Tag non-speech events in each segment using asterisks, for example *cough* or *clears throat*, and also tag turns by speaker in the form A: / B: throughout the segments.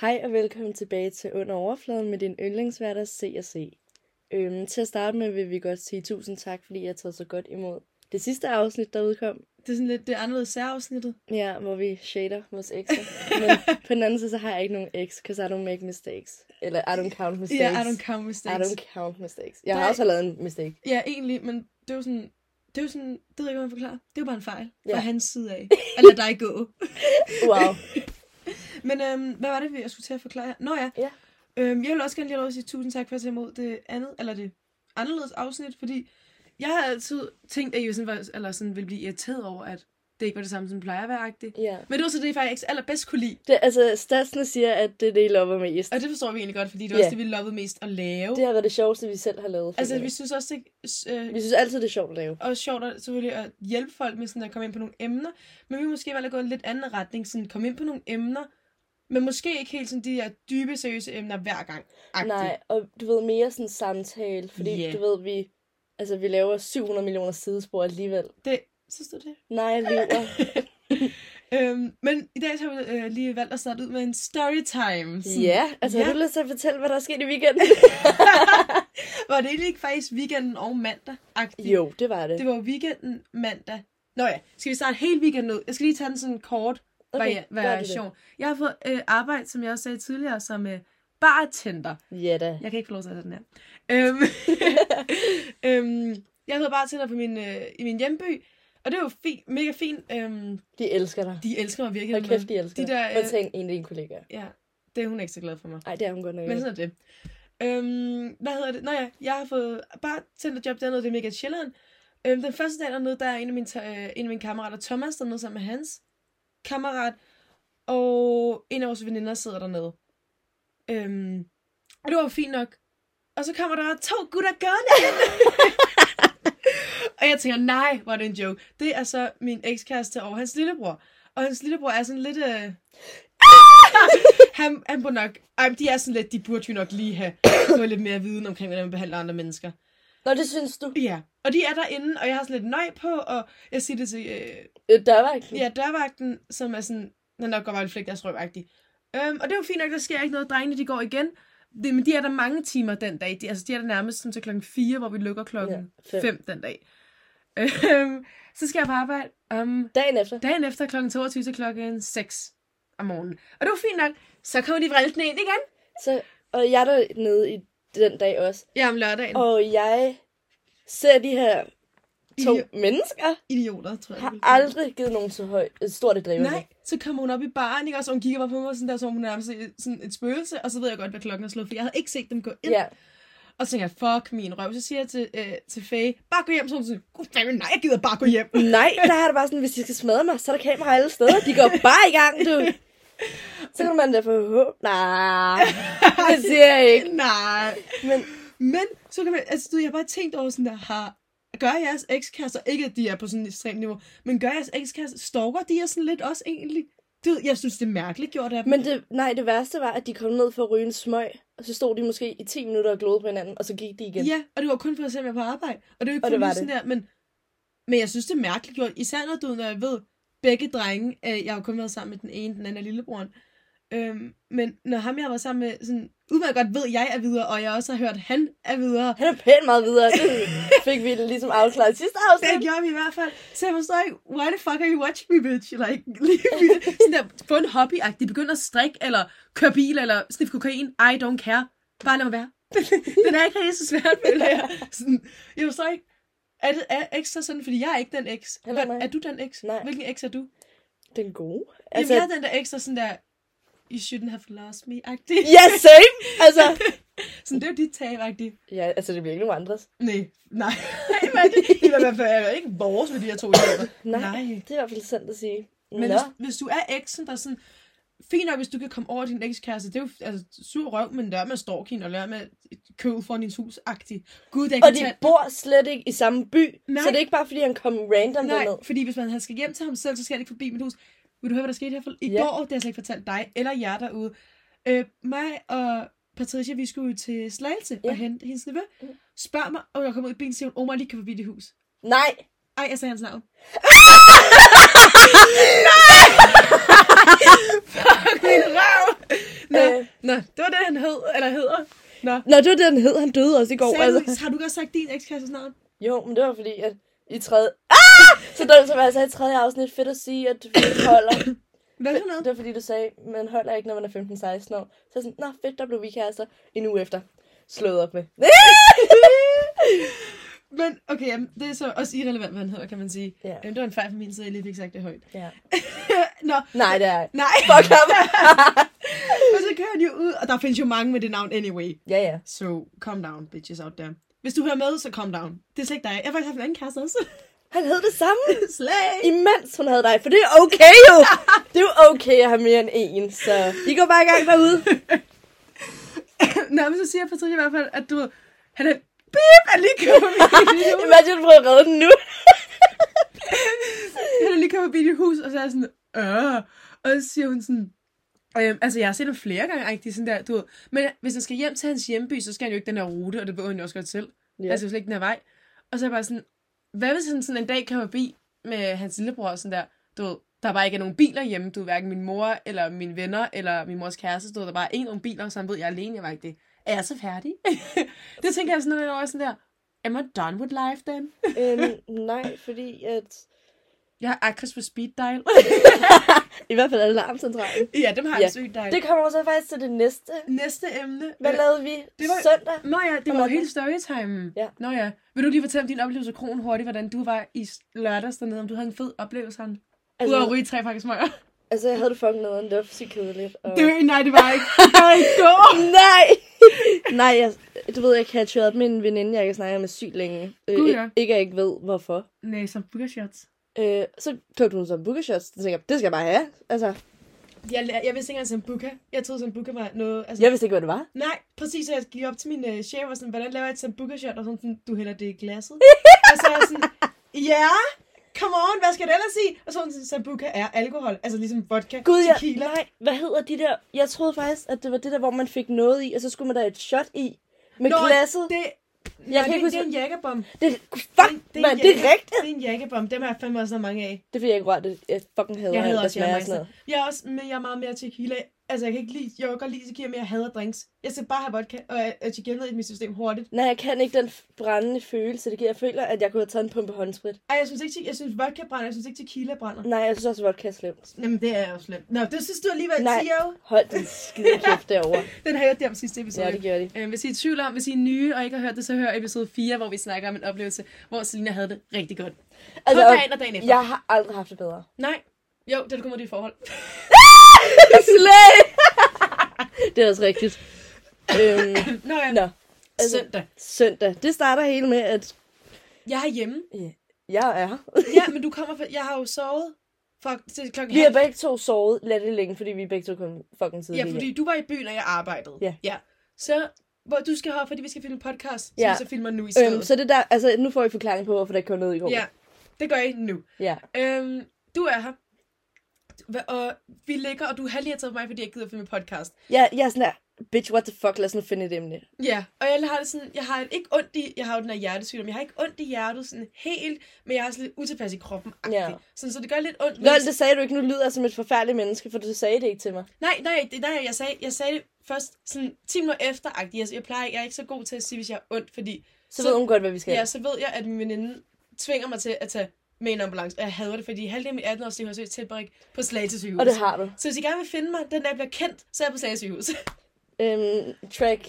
A: Hej og velkommen tilbage til Under Overfladen med din yndlingsværter C&C. Øhm, til at starte med vil vi godt sige tusind tak, fordi I har taget så godt imod det sidste afsnit, der udkom.
B: Det er sådan lidt det er anderledes særafsnittet.
A: Ja, hvor vi shader vores ekser.
B: *laughs*
A: Men på den anden side, så har jeg ikke nogen ex, because I don't make mistakes. Eller I don't count mistakes.
B: Ja, I don't count mistakes.
A: I don't count mistakes. Jeg har
B: Nej.
A: også lavet en mistake.
B: Ja, egentlig, men det er jo sådan... Det er jo sådan, det ved jeg ikke, om jeg forklarer. Det er jo bare en fejl fra
A: Ja.
B: hans side
A: *laughs*
B: af. At lade dig gå. *laughs*
A: Wow.
B: Men øhm, hvad var det, vi- jeg skulle til at forklare her? Nå ja.
A: Ja.
B: Øhm, jeg vil også gerne lige have lov at sige tusind tak for at tage imod det andet, eller det anderledes afsnit, fordi jeg har altid tænkt, at I sådan var, eller sådan ville blive irriteret over, at det ikke var det samme som plejer at være -agtigt.
A: Ja.
B: Men det var så det, jeg faktisk allerbedst kunne lide.
A: Det, altså, statsene siger, at det er det, I lover mest.
B: Og det forstår vi egentlig godt, fordi det var yeah.
A: Ja.
B: også det, vi lovede mest at lave.
A: Det har været det sjoveste, vi selv har lavet.
B: altså,
A: føler
B: vi
A: jeg.
B: synes også, det, øh,
A: vi synes altid, det er sjovt at lave.
B: og sjovt at, selvfølgelig at hjælpe folk med sådan at komme ind på nogle emner, men vi måske valgte at gå en lidt anden retning, sådan komme ind på nogle emner, men måske ikke helt sådan de der dybe, seriøse emner hver gang. -agtigt.
A: Nej, og du ved, mere sådan samtale, fordi
B: Ja.
A: du ved, vi, altså, vi laver 700 millioner sidespor alligevel.
B: Det, synes du det?
A: Nej, vi
B: *laughs* Øhm, men i dag så har vi øh, lige valgt at starte ud med en storytime. Sådan,
A: Ja, altså
B: Ja.
A: har du lyst til at fortælle, hvad der er sket i weekenden?
B: *laughs* Var det egentlig ikke faktisk weekenden og mandag? -agtigt?
A: jo, det var det.
B: Det var *laughs* jo weekenden mandag. Nå ja, skal vi starte hele weekenden ud? Jeg skal lige tage den sådan kort
A: Okay,
B: okay,
A: gør du det.
B: variation. Jeg har fået øh, arbejde, som jeg også sagde tidligere, som øh, bartender.
A: Ja da.
B: Jeg kan ikke få lov til at tage den her. Øhm, *laughs* øhm, jeg hedder bare tænder på min, øh, i min hjemby, og det er jo fint, mega fint. Øhm,
A: De elsker dig.
B: de elsker mig virkelig.
A: Hold kæft, de elsker
B: de
A: dig.
B: der,
A: Prøv at
B: øh,
A: tage en, en af dine kollegaer.
B: Ja, det er hun ikke så glad for mig.
A: Ej, det er hun godt nok.
B: Men
A: ikke.
B: sådan er det. Øhm, hvad hedder det? Nå ja, jeg har fået bare tændt job dernede, det er mega chilleren. Øhm, den første dag dernede, der er en af mine, ta- øh, en af mine kammerater, Thomas, dernede sammen med hans kammerat. Og en af vores veninder sidder dernede. Øhm, og det var jo fint nok. Og så kommer der to gutter gående ind. *laughs* og jeg tænker, nej, hvor er det en joke. Det er så min ekskæreste og hans lillebror. Og hans lillebror er sådan lidt... Øh... han, han burde nok... Ej, men de er sådan lidt... De burde jo nok lige have *coughs* noget lidt mere viden omkring, hvordan man behandler andre mennesker.
A: Nå, det synes du.
B: Ja. Og de er derinde, og jeg har sådan lidt nøj på, og jeg siger det til... Øh...
A: Øh, Der var ikke.
B: Ja, dørvagten, som er sådan, den nok godt var en flæk, deres røvagtig. Øhm, og det er jo fint nok, der sker ikke noget. Drengene, de går igen. Det, men de er der mange timer den dag. De, altså, de er der nærmest sådan til klokken 4, hvor vi lukker klokken
A: Ja,
B: ja,
A: fem.
B: 5 den dag. *laughs* Øhm, så skal jeg på arbejde om
A: Dagen efter.
B: dagen efter klokken 22 til klokken 6 om morgenen. Og det var fint nok. Så kommer de vræltende ind igen.
A: Så, og jeg er dernede i den dag også.
B: Ja, om lørdagen. Og
A: Og jeg ser de her to
B: I-
A: mennesker.
B: idioter, tror jeg.
A: Har
B: det ville kalde
A: aldrig givet nogen så høj, et stort et
B: det.
A: drivende.
B: Nej, så kommer hun op i baren, ikke? Og så hun kigger bare på mig sådan der, så hun nærmest sådan et spøgelse. Og så ved jeg godt, hvad klokken er slået, for jeg havde ikke set dem gå ind.
A: Ja,
B: Og så tænker jeg, fuck min røv. Så siger jeg til, øh, til Faye, bare gå hjem. Så hun siger, gud fanden, nej, jeg gider bare gå hjem. *laughs*
A: Nej, der har det bare sådan, hvis de skal smadre mig, så er der kamera alle steder. De går bare i gang, du. Så kan man da forhåbentlig... Nej, det siger jeg ikke.
B: nej.
A: Men
B: Men så kan man, altså du, ved, jeg har bare tænkt over sådan der, har, gør jeres ekskasser, ikke at de er på sådan et ekstremt niveau, men gør jeres ekskasser, stalker de er sådan lidt også egentlig? Du, ved, jeg synes, det er mærkeligt gjort af dem.
A: men det, nej, det værste var, at de kom ned for at ryge en smøg, og så stod de måske i 10 minutter og glodede på hinanden, og så gik de igen.
B: Ja, og det var kun for at se, om jeg var på arbejde. Og det var ikke
A: Og
B: for
A: det var
B: det sådan der, men, men jeg synes, det er mærkeligt gjort. Især når du, når jeg ved, begge drenge, øh, jeg har jo kun været sammen med den ene, den anden er lillebroren. Øhm, men når ham, jeg har været sammen med, sådan, udmærket godt ved, jeg er videre, og jeg også har hørt, han er videre.
A: Han er pænt meget videre. Det fik vi ligesom afklaret i sidste
B: Det
A: afsnit.
B: gjorde vi i hvert fald. Så jeg forstår ikke, why the fuck are you watching me, bitch? Eller ikke lige vildt. *laughs* sådan der, få en hobby -agtig. Begynd at strikke, eller køre bil, eller sniffe kokain. I don't care. Bare lad mig være. *laughs* det er ikke rigtig så svært, føler jeg. Sådan, jeg forstår ikke, er, det, er ekstra sådan, fordi jeg er ikke den ex.
A: Heller
B: Hvad-
A: mig.
B: Er du den ex?
A: Nej.
B: Hvilken ex er du?
A: Den gode.
B: Altså,
A: Altså,
B: Jamen, jeg er den der ex, der er sådan der, you shouldn't have lost me-agtig.
A: ja, same. Altså,
B: *laughs* Sådan, det er jo dit tab-agtig.
A: ja, altså, det bliver ikke nogen andres.
B: Nej, *laughs* nej. Men det, det er i hvert fald ikke vores med de her to
A: *coughs*
B: idioter.
A: Nej,
B: Nej.
A: det er i hvert fald sandt at sige.
B: Men
A: Nå.
B: hvis, hvis du er eksen, der er sådan... Fint nok, hvis du kan komme over din ekskæreste. Det er jo altså, sur røv, men lør med storkin og lør med køb for din hus -agtig. Gud, jeg
A: Og
B: kan
A: de
B: tage...
A: bor slet ikke i samme by,
B: Nej.
A: så det er ikke bare, fordi han kom random
B: Nej,
A: derned.
B: fordi hvis man han skal hjem til ham selv, så skal han ikke forbi mit hus. Vil du høre, hvad der skete her? For... I
A: Ja.
B: går, det har jeg slet ikke fortalt dig eller jer derude. Øh, mig og Patricia, vi skulle jo til Slagelse
A: Ja. Mm.
B: og hente hendes nevø. Spørg mig, og jeg kommer ud i bilen og siger, hun, oh, må jeg lige kan forbi det hus.
A: Nej,
B: Ej, jeg sagde hans navn. Nej! Fuck min røv! Nå,
A: Øh.
B: Nå, det var det, han hed, eller hedder. Nå.
A: Nå, det var det, han hed. Han døde også i går.
B: Sagde du,
A: Altså.
B: har du godt sagt din ekskæreste navn?
A: Jo, men det var fordi, at i tredje... Ah! Så der, som jeg sagde i tredje afsnit, fedt at sige, at vi *coughs* holder.
B: Hvad for noget?
A: Det var fordi, du sagde, man holder ikke, når man er 15-16 år. Så jeg sådan, nå fedt, der blev vi kærester en uge efter. Slået op *laughs* med.
B: Men okay, jamen, det er så også irrelevant, hvad han hedder, kan man sige.
A: Ja.
B: Jamen, det var en fejl fra min side, jeg lige fik sagt det højt.
A: *laughs* ja.
B: Nå,
A: Nej, det er jeg.
B: nej.
A: Fuck ham.
B: *laughs* Og så kører han jo ud, og der findes jo mange med det navn anyway.
A: ja, ja.
B: So, calm down, bitches out there. Hvis du hører med, så calm down. Det er slet ikke dig. Jeg har faktisk haft en anden kæreste også. *laughs*
A: Han hed det samme,
B: Slag!
A: imens hun havde dig. For det er okay jo. *laughs* Det er jo okay at have mere end en. Så I går bare i gang derude.
B: Nå, men så siger Patrick i hvert fald, at du ved, han er bip, han er lige kører forbi dit hus.
A: Imagine, du prøver at redde den nu.
B: *laughs* Han er lige kører forbi dit hus, og så er jeg sådan, øh. Og så siger hun sådan, Øhm, altså, jeg har set ham flere gange, rigtig sådan der, du ved. Men hvis han skal hjem til hans hjemby, så skal han jo ikke den her rute, og det ved han jo også godt selv.
A: Ja.
B: Yeah. Altså, slet ikke den her vej. Og så er jeg bare sådan, hvad hvis han sådan en dag kommer forbi med hans lillebror og sådan der, du ved, der bare ikke er nogen biler hjemme, du ved, hverken min mor, eller mine venner, eller min mors kæreste, du ved, der bare er ikke nogen biler, så han ved, jeg er alene, jeg var ikke det. Er jeg så færdig? *laughs* det tænker jeg sådan lidt over sådan der, am I done with life then?
A: øhm, nej, fordi at...
B: Jeg har Akris på speed dial.
A: I hvert fald alarmcentralen.
B: *laughs* ja, dem har
A: Ja,
B: jeg sygt dial. Det...
A: Det kommer så faktisk til det næste.
B: Næste emne.
A: Hvad lavede vi
B: Det var-
A: søndag?
B: Nå ja, det var jo
A: mandag.
B: hele storytime.
A: Ja.
B: Nå ja. Vil du lige fortælle om din oplevelse af kronen hurtigt, hvordan du var i s- lørdags dernede, om du havde en fed oplevelse han? Altså... Udover at
A: Altså,
B: ryge tre pakker smøger.
A: altså, jeg havde det fucking nederen. Det var så kedeligt. Og...
B: *laughs* Det var, *laughs* nej, det var ikke. Det var ikke går.
A: Nej! *laughs* Nej, jeg, du ved, jeg catchede op med en veninde, jeg kan snakke med sygt længe. Øh,
B: Gud,
A: ikke-
B: ja.
A: Ikke, at jeg ikke ved, hvorfor.
B: Nej, som bookershots.
A: Øh, så købte hun sådan bookershots. Så tænkte jeg, det skal jeg bare have. Altså,
B: Jeg, lær- jeg vidste ikke engang Sambuca. Jeg troede, Sambuca var noget... Altså,
A: jeg vidste ikke, hvad det var.
B: Nej, præcis. Så jeg gik op til min øh, chef og sådan, hvordan laver jeg et Sambuca-shot? Og sådan, sådan, du hælder det i *laughs* glasset. og så er jeg sådan, ja, yeah, come on, hvad skal det ellers sige? Og så var hun sådan, Sambuca er alkohol. Altså ligesom vodka,
A: Gud, jeg...
B: tequila.
A: Nej, hvad hedder de der? Jeg troede faktisk, at det var det der, hvor man fik noget i, og så skulle man da et shot i. Med
B: Nå,
A: glasset.
B: Det,
A: Jeg
B: nej,
A: kan ikke
B: det, det er
A: huske-
B: en jakkebom.
A: Det, fuck, det,
B: en
A: man, det er
B: jakke-
A: rigtigt.
B: Det er en jakkebom. Dem har jeg fandme også mange af.
A: Det er fordi, jeg ikke rørte det. Jeg fucking hader,
B: Jeg
A: alt,
B: hader
A: der
B: også
A: smager af
B: Jamaica.
A: sådan noget.
B: Jeg er også, men jeg er meget mere tequila. Altså, jeg kan ikke lide, jeg kan godt lide tequila, men jeg hader drinks. Jeg skal bare have vodka og, og tequila ned i mit system hurtigt.
A: Nej, jeg kan ikke den f- brændende følelse. Det giver, jeg føler, at jeg kunne have taget en pumpe håndsprit.
B: Ej, jeg synes ikke, te- jeg synes vodka brænder, jeg synes ikke tequila brænder.
A: Nej, jeg synes også, at vodka er slemt.
B: Jamen, det er jo slemt. Nå, det synes du alligevel,
A: Nej.
B: Tio.
A: Hold den skide kæft derovre.
B: Den har jeg hørt der om sidste episode.
A: Ja, det gjorde de.
B: Øh, Hvis I er i tvivl om, hvis I er nye og ikke har hørt det, så hør episode 4, hvor vi snakker om en oplevelse, hvor Selina havde det rigtig godt. Altså,
A: Altså,
B: På dagen og dagen efter.
A: jeg har aldrig haft det
B: *laughs*
A: bedre.
B: Nej. Jo, det er du kommer i dit forhold. *clears throat*
A: Slag! det er også rigtigt. Øhm,
B: Nå ja,
A: nå, altså-
B: søndag.
A: søndag. Det starter hele med, at
B: Jeg er hjemme.
A: jeg er her.
B: Ja, men du kommer fra... Jeg har jo sovet fra til klokken
A: Vi har begge to sovet latterligt længe, fordi vi er begge to kom fucking tidligt.
B: Ja, fordi du var i byen, og jeg arbejdede.
A: Ja.
B: ja. Så hvor du skal herop, fordi vi skal filme podcast, som
A: Ja.
B: vi så filmer nu i
A: Øhm,
B: stedet.
A: så det der, altså nu får I forklaring på, hvorfor der ikke kom noget i går.
B: ja, det gør jeg nu.
A: ja.
B: Øhm, du er her. Hva- Og vi ligger, og du har lige har taget på mig, fordi jeg gider filme podcast.
A: Jeg, jeg er sådan der, bitch, what the fuck, lad os nu finde et emne.
B: Ja, og jeg har det sådan, jeg har ikke ondt i, jeg har jo den her hjertesygdom, jeg har ikke ondt i hjertet sådan helt, men jeg er sådan lidt utilpas i kroppen.
A: Ja.
B: Ja. Sådan, så det gør lidt ondt. men-
A: Lol, det sagde du ikke, nu lyder jeg som et forfærdeligt menneske, for du sagde det ikke til mig.
B: Nej, nej, det, nej, jeg sagde, jeg sagde det først sådan 10 minutter efter, jeg, jeg plejer ikke, jeg er ikke så god til at sige, hvis jeg er ondt, fordi
A: Så, ved hun godt, hvad vi skal.
B: Ja, så ved jeg, at min veninde tvinger mig til at tage med en ambulance. Og jeg hader det, fordi halvdelen af mit 18 års liv har søgt tilbræk på Slagelse sygehus.
A: Og det har du.
B: Så hvis I gerne vil finde mig, den dag jeg bliver kendt, så er jeg på Slagelse sygehus. *laughs*
A: Øhm, track,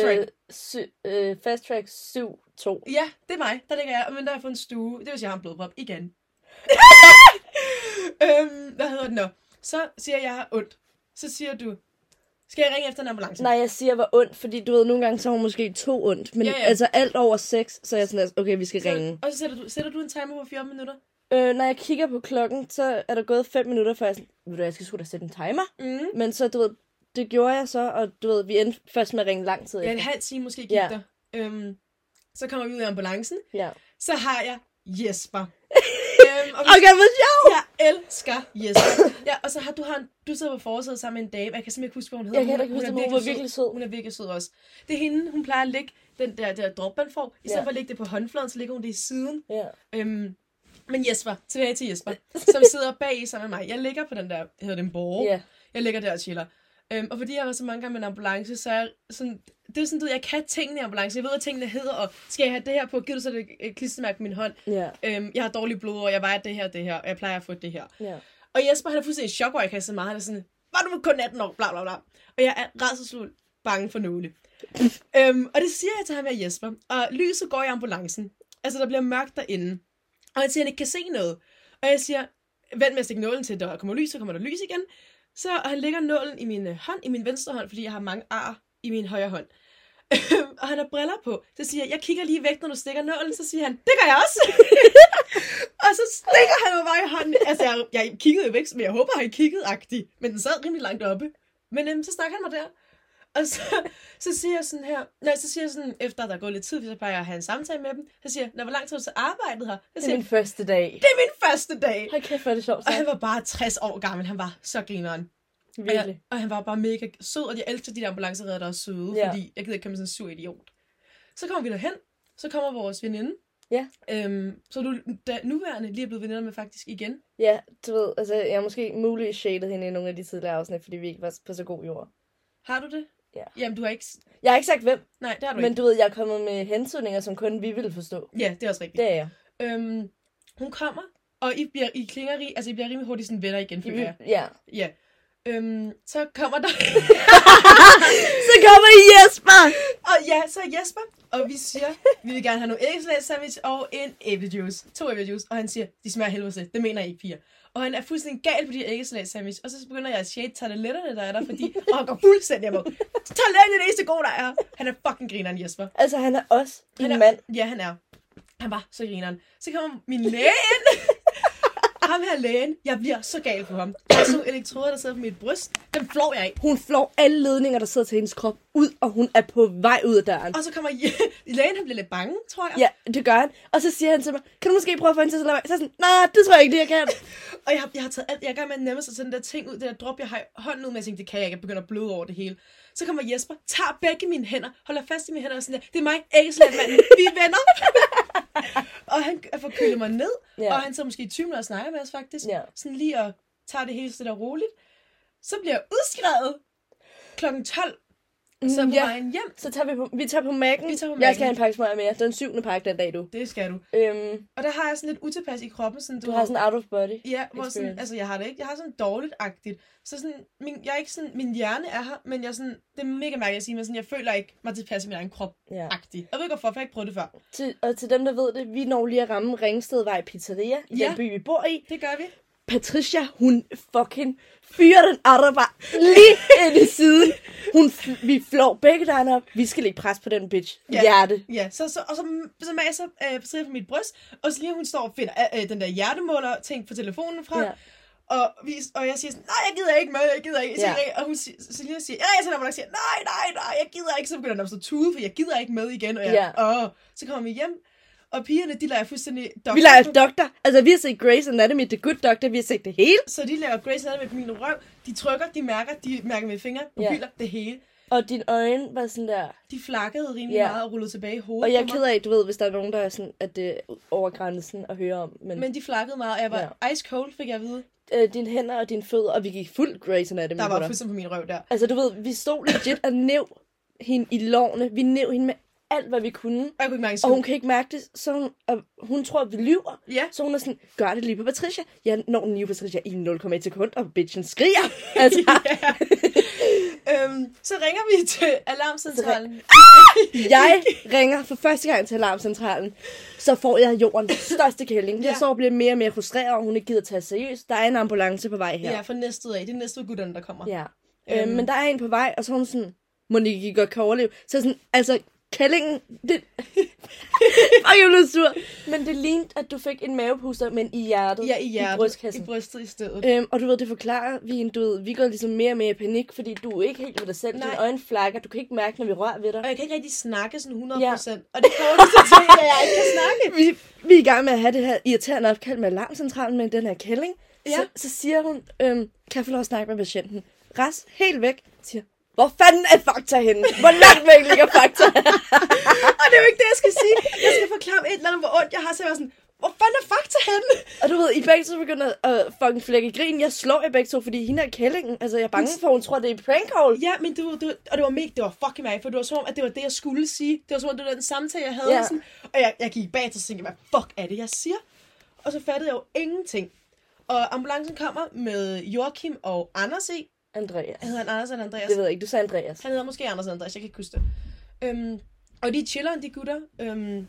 B: Track.
A: Øh, sy- øh, fast track 7 2.
B: ja, det er mig. Der ligger jeg. Og Men der har jeg fået en stue. Det vil sige, at jeg har en blodprop
A: *laughs*
B: igen. øhm, hvad hedder den nu? Så siger jeg, at jeg har ondt. Så siger du, skal jeg ringe efter en ambulance?
A: Nej, jeg siger, hvor ondt, fordi du ved, nogle gange så har hun måske to ondt, men ja,
B: Ja,
A: ja.
B: ja.
A: altså alt over 6, så er jeg sådan, altså, okay, vi skal ringe.
B: så, og så sætter du, sætter du en timer på 14 minutter.
A: Øh, når jeg kigger på klokken, så er der gået 5 minutter, før jeg er sådan, ved du, hvad, jeg skal sgu da sætte en timer.
B: Mm.
A: Men så, du ved, det gjorde jeg så, og du ved, vi endte først med at ringe lang tid
B: Ja, en
A: efter.
B: halv time måske gik
A: Ja.
B: ja. der. Øhm, så kommer vi ud af ambulancen.
A: Ja.
B: så har jeg
A: *laughs*
B: Jesper. øhm, og
A: Okay, hvor sjovt!
B: jeg elsker Jesper. Ja, og så har du, har en, du sidder på forsædet sammen med en dame, og jeg kan simpelthen ikke huske, hvad hun hedder.
A: Jeg kan heller ikke
B: Hun-
A: huske,
B: hun
A: men
B: er
A: hun var virkelig sød.
B: sød. Hun er virkelig sød også. Det er hende, hun plejer at lægge den der, der drop, man får. I stedet
A: Ja.
B: for at lægge det på håndfladen, så lægger hun det i siden.
A: Ja.
B: Øhm, men Jesper, tilbage
A: *laughs*
B: til Jesper, som sidder bag i sammen med mig. Jeg ligger på den der, hedder den borg.
A: Ja.
B: Jeg ligger der og chiller. Øhm, og fordi jeg var så mange gange med en ambulance, så er jeg sådan, det er sådan, du ved, jeg kan tingene i ambulance. Jeg ved, hvad tingene hedder, og skal jeg have det her på? Giv du så det øh, klistermærke på min hånd?
A: Ja,
B: Øhm, jeg har dårlig blod, og jeg vejer det her, det her, og jeg plejer at få det her.
A: ja.
B: Og Jesper, han er fuldstændig i chok, hvor jeg kan så meget. Han er sådan, var du kun 18 år, bla bla bla. Og jeg er rædselsfuld bange for nåle. øhm, og det siger jeg til ham her, Jesper. Og lyset går i ambulancen. Altså, der bliver mørkt derinde. Og han siger, han ikke kan se noget. Og jeg siger, vent med at stikke nålen til, der kommer lys, så kommer der lys igen. Så og han lægger nålen i min øh, hånd, i min venstre hånd, fordi jeg har mange ar i min højre hånd. *laughs* og han har briller på. Så siger jeg, jeg kigger lige væk, når du stikker nålen. Så siger han, det gør jeg også. *laughs* Og så stikker han mig bare i hånden. Altså, jeg, jeg kiggede jo væk, men jeg håber, han kiggede agtigt. Men den sad rimelig langt oppe. Men øhm, så snakker han mig der. Og så, så siger jeg sådan her, nej, så siger jeg sådan, efter der er gået lidt tid, for så plejer jeg at have en samtale med dem, så siger jeg, "Nå, hvor lang tid har du så arbejdet her? Så
A: Det
B: siger
A: er
B: jeg,
A: min første dag. *laughs*
B: det er min første dag.
A: Hold kæft, hvor er det sjovt
B: Og han
A: sagt.
B: var bare 60 år gammel, han var så grineren. Og, jeg,
A: Virkelig.
B: og han var bare mega sød, og jeg elsker de der ambulanceredder, der er søde,
A: Ja.
B: ja. fordi jeg gider ikke komme sådan en sur idiot. Så kommer vi derhen, så kommer vores veninde.
A: Ja.
B: Øhm, så er du da, nuværende lige er blevet veninder med faktisk igen.
A: Ja, du ved, altså jeg har måske muligvis shadet hende i nogle af de tidligere afsnit, fordi vi ikke var på så god jord.
B: Har du det?
A: Ja.
B: Jamen, du har ikke...
A: Jeg har ikke sagt hvem,
B: Nej, det har du
A: men
B: ikke.
A: du ved, jeg er kommet med hensynninger, som kun vi ville forstå.
B: Ja, det er også rigtigt.
A: Det er jeg.
B: Øhm, hun kommer, og I, bliver, I klinger rig, altså I bliver rimelig hurtigt sådan venner igen, føler jeg.
A: Ja.
B: Ja. Øhm, så kommer der...
A: Så kommer I Jesper!
B: og ja, så er Jesper, og vi siger, vi vil gerne have nogle æggeslag sandwich og en æblejuice. To æblejuice, og han siger, de smager af helvede til. Det mener jeg ikke, piger. Og han er fuldstændig gal på de æggeslag sandwich, og så begynder jeg at shade tarteletterne, der er der,
A: *laughs*
B: fordi... og han går fuldstændig amok. Tarteletterne er det eneste gode, der er. Han er fucking grineren, Jesper.
A: Altså, han er også
B: Han
A: en
B: er-
A: mand.
B: Ja, han er. Han var så grineren. Så kommer min læge
A: *laughs*
B: ind. Og ham her lægen, jeg bliver så gal på ham. Der er sådan nogle elektroder, der sidder på mit bryst. Dem flår jeg af.
A: Hun flår alle ledninger, der sidder til hendes krop ud, og hun er på vej ud af døren.
B: Og så kommer *laughs* lægen, han bliver lidt bange, tror jeg.
A: Ja, det gør han. Og så siger han til mig, kan du måske prøve at få hende til at slå mig? Så er jeg sådan, nej, det tror jeg ikke, det
B: *laughs*
A: jeg kan.
B: Og jeg, har- jeg har taget alt, jeg er i gang med at nemme sig til den der ting ud, det der drop, jeg har i hånden ud med, jeg tænkte, det kan jeg ikke, jeg begynder at bløde over det hele. Så kommer Jesper, tager begge mine hænder, holder fast i mine hænder og sådan der, det er mig, æggeslandmanden, vi er venner. *laughs* og han får kølet mig ned,
A: Ja.
B: ja. og han så måske i 20 minutter og snakker med os faktisk,
A: Ja.
B: sådan lige og tager det hele stille og roligt. Så bliver jeg udskrevet klokken 12, så på
A: Mm, ja.
B: ja. vejen hjem.
A: Så tager vi på, vi tager på Mac'en.
B: Vi tager på
A: Jeg
B: Mac'en.
A: skal have en pakke smøger mere. Den syvende pakke den dag, du.
B: Det skal du.
A: Øhm,
B: Og der har jeg sådan lidt utilpas i kroppen. Sådan,
A: du har sådan out of body.
B: Ja, hvor sådan,
A: experience.
B: altså jeg har det ikke. Jeg har sådan dårligt-agtigt. Så sådan, min, jeg er ikke sådan, min hjerne er her, men jeg er sådan, det er mega mærkeligt at sige, men sådan, jeg føler ikke mig tilpas i min egen krop
A: Ja.
B: -agtig. Jeg ved ikke hvorfor, for jeg har ikke prøvet det før.
A: Til, og til dem, der ved det, vi når lige at ramme Ringstedvej Pizzeria, i
B: Ja.
A: den by, vi bor i.
B: Det gør vi.
A: Patricia, hun fucking fyrer den arbejde *laughs* lige ind i siden. Hun, f- vi flår begge dejene op. Vi skal lægge pres på den bitch.
B: Ja.
A: Hjerte.
B: Ja, så, så, og så, så maser øh, Patricia på mit bryst, og så lige hun står og finder øh, øh, den der hjertemåler ting på telefonen frem,
A: Ja.
B: ja. og, vi, og jeg siger sådan, nej, jeg gider ikke med, jeg gider ikke.
A: Ja.
B: Ja. Og hun siger, Selina siger, ja, jeg tænder mig, og siger, nej, nej, nej, jeg gider ikke. Så begynder den at stå tude, for jeg gider ikke med igen, og jeg, ja. åh, så kommer vi hjem, og pigerne, de leger fuldstændig
A: Vi leger doktor. Altså, vi har set Grey's Anatomy, The Good Doctor. Vi har set det hele.
B: Så de laver Grace Anatomy på min røv. De trykker, de mærker, de mærker med fingre,
A: Ja.
B: pupiller, det hele.
A: Og dine øjne var sådan der...
B: De flakkede rimelig
A: Ja.
B: ja. meget og rullede tilbage i hovedet
A: Og jeg er
B: på
A: ked
B: mig.
A: af, du ved, hvis der er nogen, der er sådan, at det er over grænsen at høre om. Men, men
B: Men de flakkede meget, og jeg var ice cold, fik jeg at vide.
A: øh, dine hænder og dine fødder, og vi gik fuld Grey's Anatomy
B: Der
A: på
B: var
A: dig.
B: fuldstændig på min røv der.
A: Altså, du ved, vi stod legit og næv hende i lovene. Vi næv hende med alt, hvad vi kunne.
B: Og jeg kunne ikke mærke en
A: Og
B: skid.
A: hun kan ikke mærke det, så hun, og hun tror, at vi lyver.
B: Ja,
A: Så hun er sådan, gør det lige på Patricia. Jeg når den lige på Patricia i 0,1 sekund, og bitchen skriger. *laughs* Altså,
B: øhm, så ringer vi til alarmcentralen.
A: jeg ringer for første gang til alarmcentralen. Så får jeg jordens største kælling. Jeg
B: Ja.
A: så og bliver mere og mere frustreret, og hun ikke gider tage seriøst. Der er en ambulance på vej her.
B: Ja, for næste ud af. Det er næste ud af gutterne, der kommer.
A: Ja. Øhm,
B: Øhm.
A: men der er en på vej, og så er hun sådan, Monique, I godt kan overleve. Så sådan, altså, kællingen, det... *laughs* og jeg blev sur. Men det lignede, at du fik en mavepuster, men i hjertet.
B: Ja, i hjertet.
A: I brystkassen.
B: I brystet i stedet.
A: Øhm, og du ved, det forklarer vi en, du ved, vi går ligesom mere og mere i panik, fordi du er ikke helt ved dig selv.
B: Nej.
A: Dine øjne flakker, du kan ikke mærke, når vi rører ved dig.
B: Og jeg kan ikke rigtig snakke sådan 100%.
A: Ja.
B: Ja. Og det går
A: *laughs*
B: det så til, at jeg ikke kan snakke.
A: Vi, vi er i gang med at have det her irriterende opkald med alarmcentralen med den her kælling.
B: Ja.
A: Så, så siger hun, øhm, kan jeg få lov at snakke med patienten? Ras, helt væk, siger, hvor fanden er Fakta henne? Hvor langt væk
B: *laughs*
A: ligger Fakta?
B: Og det er jo ikke det, jeg skal sige. Jeg skal forklare om et eller andet, hvor ondt jeg har. Så jeg var sådan, Hvor fanden er fakta henne?
A: Og du ved, I begge to begynder at fucking flække grin. Jeg slår jer begge to, fordi hende er kællingen. Altså, jeg er bange for, hun tror, det er et prank call.
B: Ja, men det var, det var, og det var mega, det var fucking mærkeligt, for det var som om, at det var det, jeg skulle sige. Det var som om, det var den samtale, jeg havde.
A: Ja.
B: Yeah. Sådan, og jeg, jeg gik bag til og tænkte, hvad fuck er det, jeg siger? Og så fattede jeg jo ingenting. Og ambulancen kommer med Joachim og Anders i.
A: Andreas.
B: Hedder han Anders eller Andreas?
A: Det ved jeg ikke. Du sagde Andreas.
B: Han hedder måske Anders Andreas, jeg kan ikke huske det. Øhm, og de chiller, de gutter. Øhm,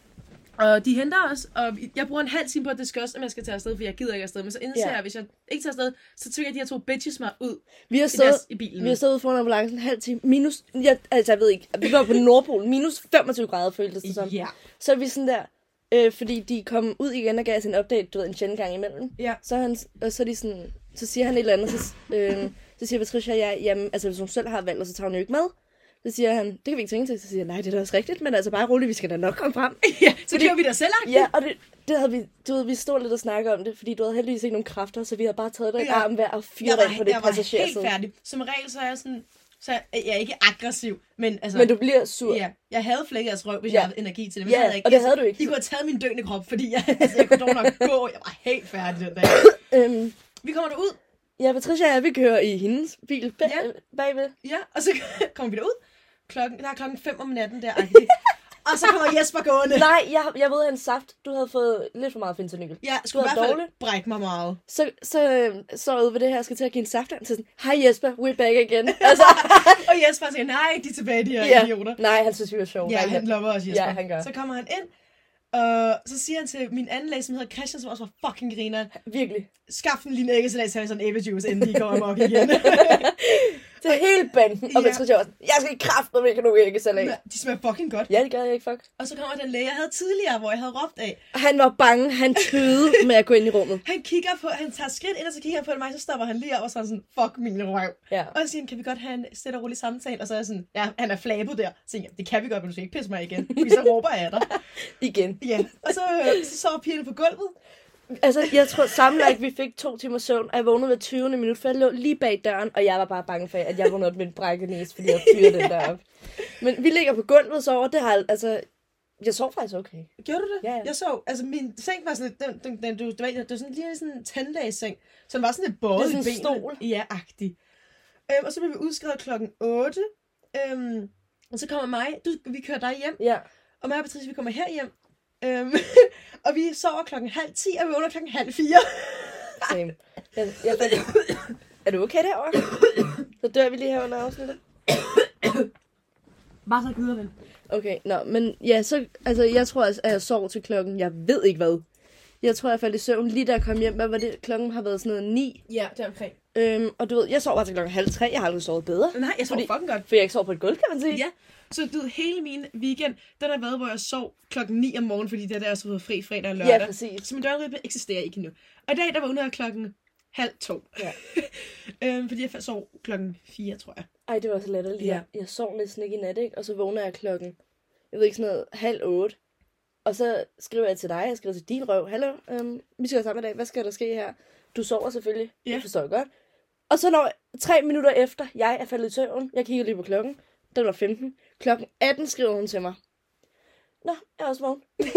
B: og de henter os, og jeg bruger en halv time på at discuss, om jeg skal tage afsted, for jeg gider ikke afsted. Men så indser
A: Ja.
B: jeg, at hvis jeg ikke tager afsted, så tvinger de her to bitches mig ud
A: Vi har
B: i,
A: stået,
B: deres, i bilen.
A: vi har stået foran ambulancen en halv time. Minus, jeg, altså jeg ved ikke, vi var på Nordpolen. Minus 25 grader føltes det som.
B: Ja.
A: Så er vi sådan der, øh, fordi de kom ud igen og gav os en update, du ved, en sjældent gang imellem.
B: Ja.
A: Så, er han, og så, er de sådan, så siger han et eller andet, så, øh, så siger Patricia, ja, jamen, altså hvis hun selv har valgt, så tager hun jo ikke med. Så siger han, det kan vi ikke tænke til. Så siger jeg, nej, det er da også rigtigt, men altså bare roligt, vi skal da nok komme
B: *laughs*
A: frem.
B: *laughs* ja. Så kører vi der selv, agtigt.
A: Ja, og det, det havde vi, du ved, vi stod lidt og snakkede om det, fordi du havde heldigvis ikke nogen kræfter, så vi havde bare taget dig i
B: Ja.
A: armen hver og
B: jeg
A: fyret dig ind på
B: var,
A: det
B: jeg var helt
A: passagersæde.
B: færdig. Som regel, så er jeg sådan... Så er jeg, jeg er ikke aggressiv, men altså...
A: Men du bliver sur.
B: Ja, jeg havde flækket jeres røv, hvis
A: Ja.
B: jeg havde energi til det, men
A: Ja,
B: det havde jeg ikke.
A: og det
B: Altså,
A: havde du ikke.
B: De kunne have taget min døende krop, fordi jeg, *laughs* altså, jeg kunne dog nok gå. Jeg var helt færdig den dag.
A: Øhm,
B: Vi kommer derud,
A: ja, Patricia og jeg, vi kører i hendes bil bag,
B: Ja.
A: bagved.
B: ja, og så *laughs* kommer vi derud. Klokken, der er klokken 5 om natten der, agtigt. og så kommer Jesper
A: *laughs*
B: gående.
A: Nej, jeg, jeg ved, han saft. Du havde fået lidt for meget fentanyl.
B: Jeg skulle i
A: Det var
B: hvert fald
A: dårligt.
B: brække mig meget.
A: Så, så, øh, så ude ved det her, skal til at give en saftand til sådan, hej Jesper, we're back *laughs* again. Altså,
B: *laughs* Og Jesper siger, nej, de er tilbage, de her
A: ja.
B: idioter.
A: Nej, han synes, vi var sjove.
B: Ja,
A: Nej,
B: han lopper også Jesper.
A: Ja, han gør.
B: Så kommer han ind, og så siger han til min anden læge, som hedder Christian, som også var fucking grineren,
A: Virkelig.
B: skaf den lige en æggesalat til sådan en æblejuice, inden de kommer amok
A: *laughs*
B: igen.
A: Det er hele banden. Og
B: Ja.
A: Patricia var sådan, jeg skal ikke kræfte med kan du ikke salat.
B: *laughs* de smager fucking godt.
A: Ja, det gør jeg ikke, fuck.
B: Og så kommer den læge, jeg havde tidligere, hvor jeg havde råbt af.
A: Han var bange, han tøvede med at gå ind i rummet.
B: Han kigger på, han tager skridt ind, og så kigger han på mig, så stopper han lige op, og så er han sådan, fuck min røv.
A: Ja.
B: Og så siger han, kan vi godt have en stille og rolig samtale? Og så er jeg sådan, ja, han er flabet der. Så tænker jeg, det kan vi godt, men du skal ikke pisse mig igen, fordi
A: *laughs*
B: så råber jeg af dig.
A: Igen.
B: Ja. Og så, øh, så sover pigerne på gulvet.
A: Altså, jeg tror sammenlagt, vi fik to timer søvn, og jeg vågnede ved 20. minut, for jeg lå lige bag døren, og jeg var bare bange for, at jeg vågnede op med en brækket næse, fordi jeg fyrede den der op. Men vi ligger på gulvet og sover, det har al- altså... Jeg sov faktisk okay.
B: Gjorde du det?
A: Ja, ja.
B: Jeg så, altså min seng var sådan lidt, den, den, den, du, det, var, en- det var sådan lige sådan en tandlæges seng, så den var sådan lidt båret
A: Det er
B: i
A: sådan en
B: benene. Ja, agtig. Øhm, og så blev vi udskrevet klokken 8. Øhm, og så kommer mig, du, vi kører dig hjem,
A: Ja.
B: og mig og Patricia, vi kommer her hjem. Øhm, *laughs* og vi sover klokken halv 10, og vi vågner klokken halv 4.
A: Same. Jeg, jeg fandt... Er du okay derovre? Så dør vi lige her under afsnittet.
B: Bare så gider den.
A: Okay, nå, men ja, så, altså, jeg tror, altså, at jeg sov til klokken, jeg ved ikke hvad. Jeg tror, jeg faldt i søvn lige da jeg kom hjem. Hvad var det? Klokken har været sådan noget 9.
B: Ja, det er omkring.
A: Øhm, og du ved, jeg sov bare til klokken halv tre. Jeg har aldrig sovet bedre.
B: Nej, jeg sover
A: Fordi-
B: fucking godt.
A: For jeg ikke sov på et gulv, kan man sige.
B: Ja, så du, ved, hele min weekend, den har været, hvor jeg sov klokken 9 om morgenen, fordi det er der, jeg så fri fredag og lørdag.
A: Ja, præcis.
B: Så min dørribe eksisterer ikke endnu. Og i dag, der vågnede jeg klokken halv to.
A: Ja.
B: *laughs* øhm, fordi jeg fa- sov klokken fire, tror jeg.
A: Ej, det var så latterligt.
B: Ja.
A: Ja. Jeg sov næsten ikke i nat, ikke? Og så vågner jeg klokken, jeg ved ikke, sådan noget, halv otte. Og så skriver jeg til dig, jeg skriver til din røv, hallo, øhm, vi skal være sammen i dag, hvad skal der ske her? Du sover selvfølgelig,
B: Ja.
A: det forstår jeg godt. Og så når tre minutter efter, jeg er faldet i søvn, jeg kigger lige på klokken, den var 15, klokken 18 skriver hun til mig. Nå, jeg er også
B: *laughs*
A: vågen. Så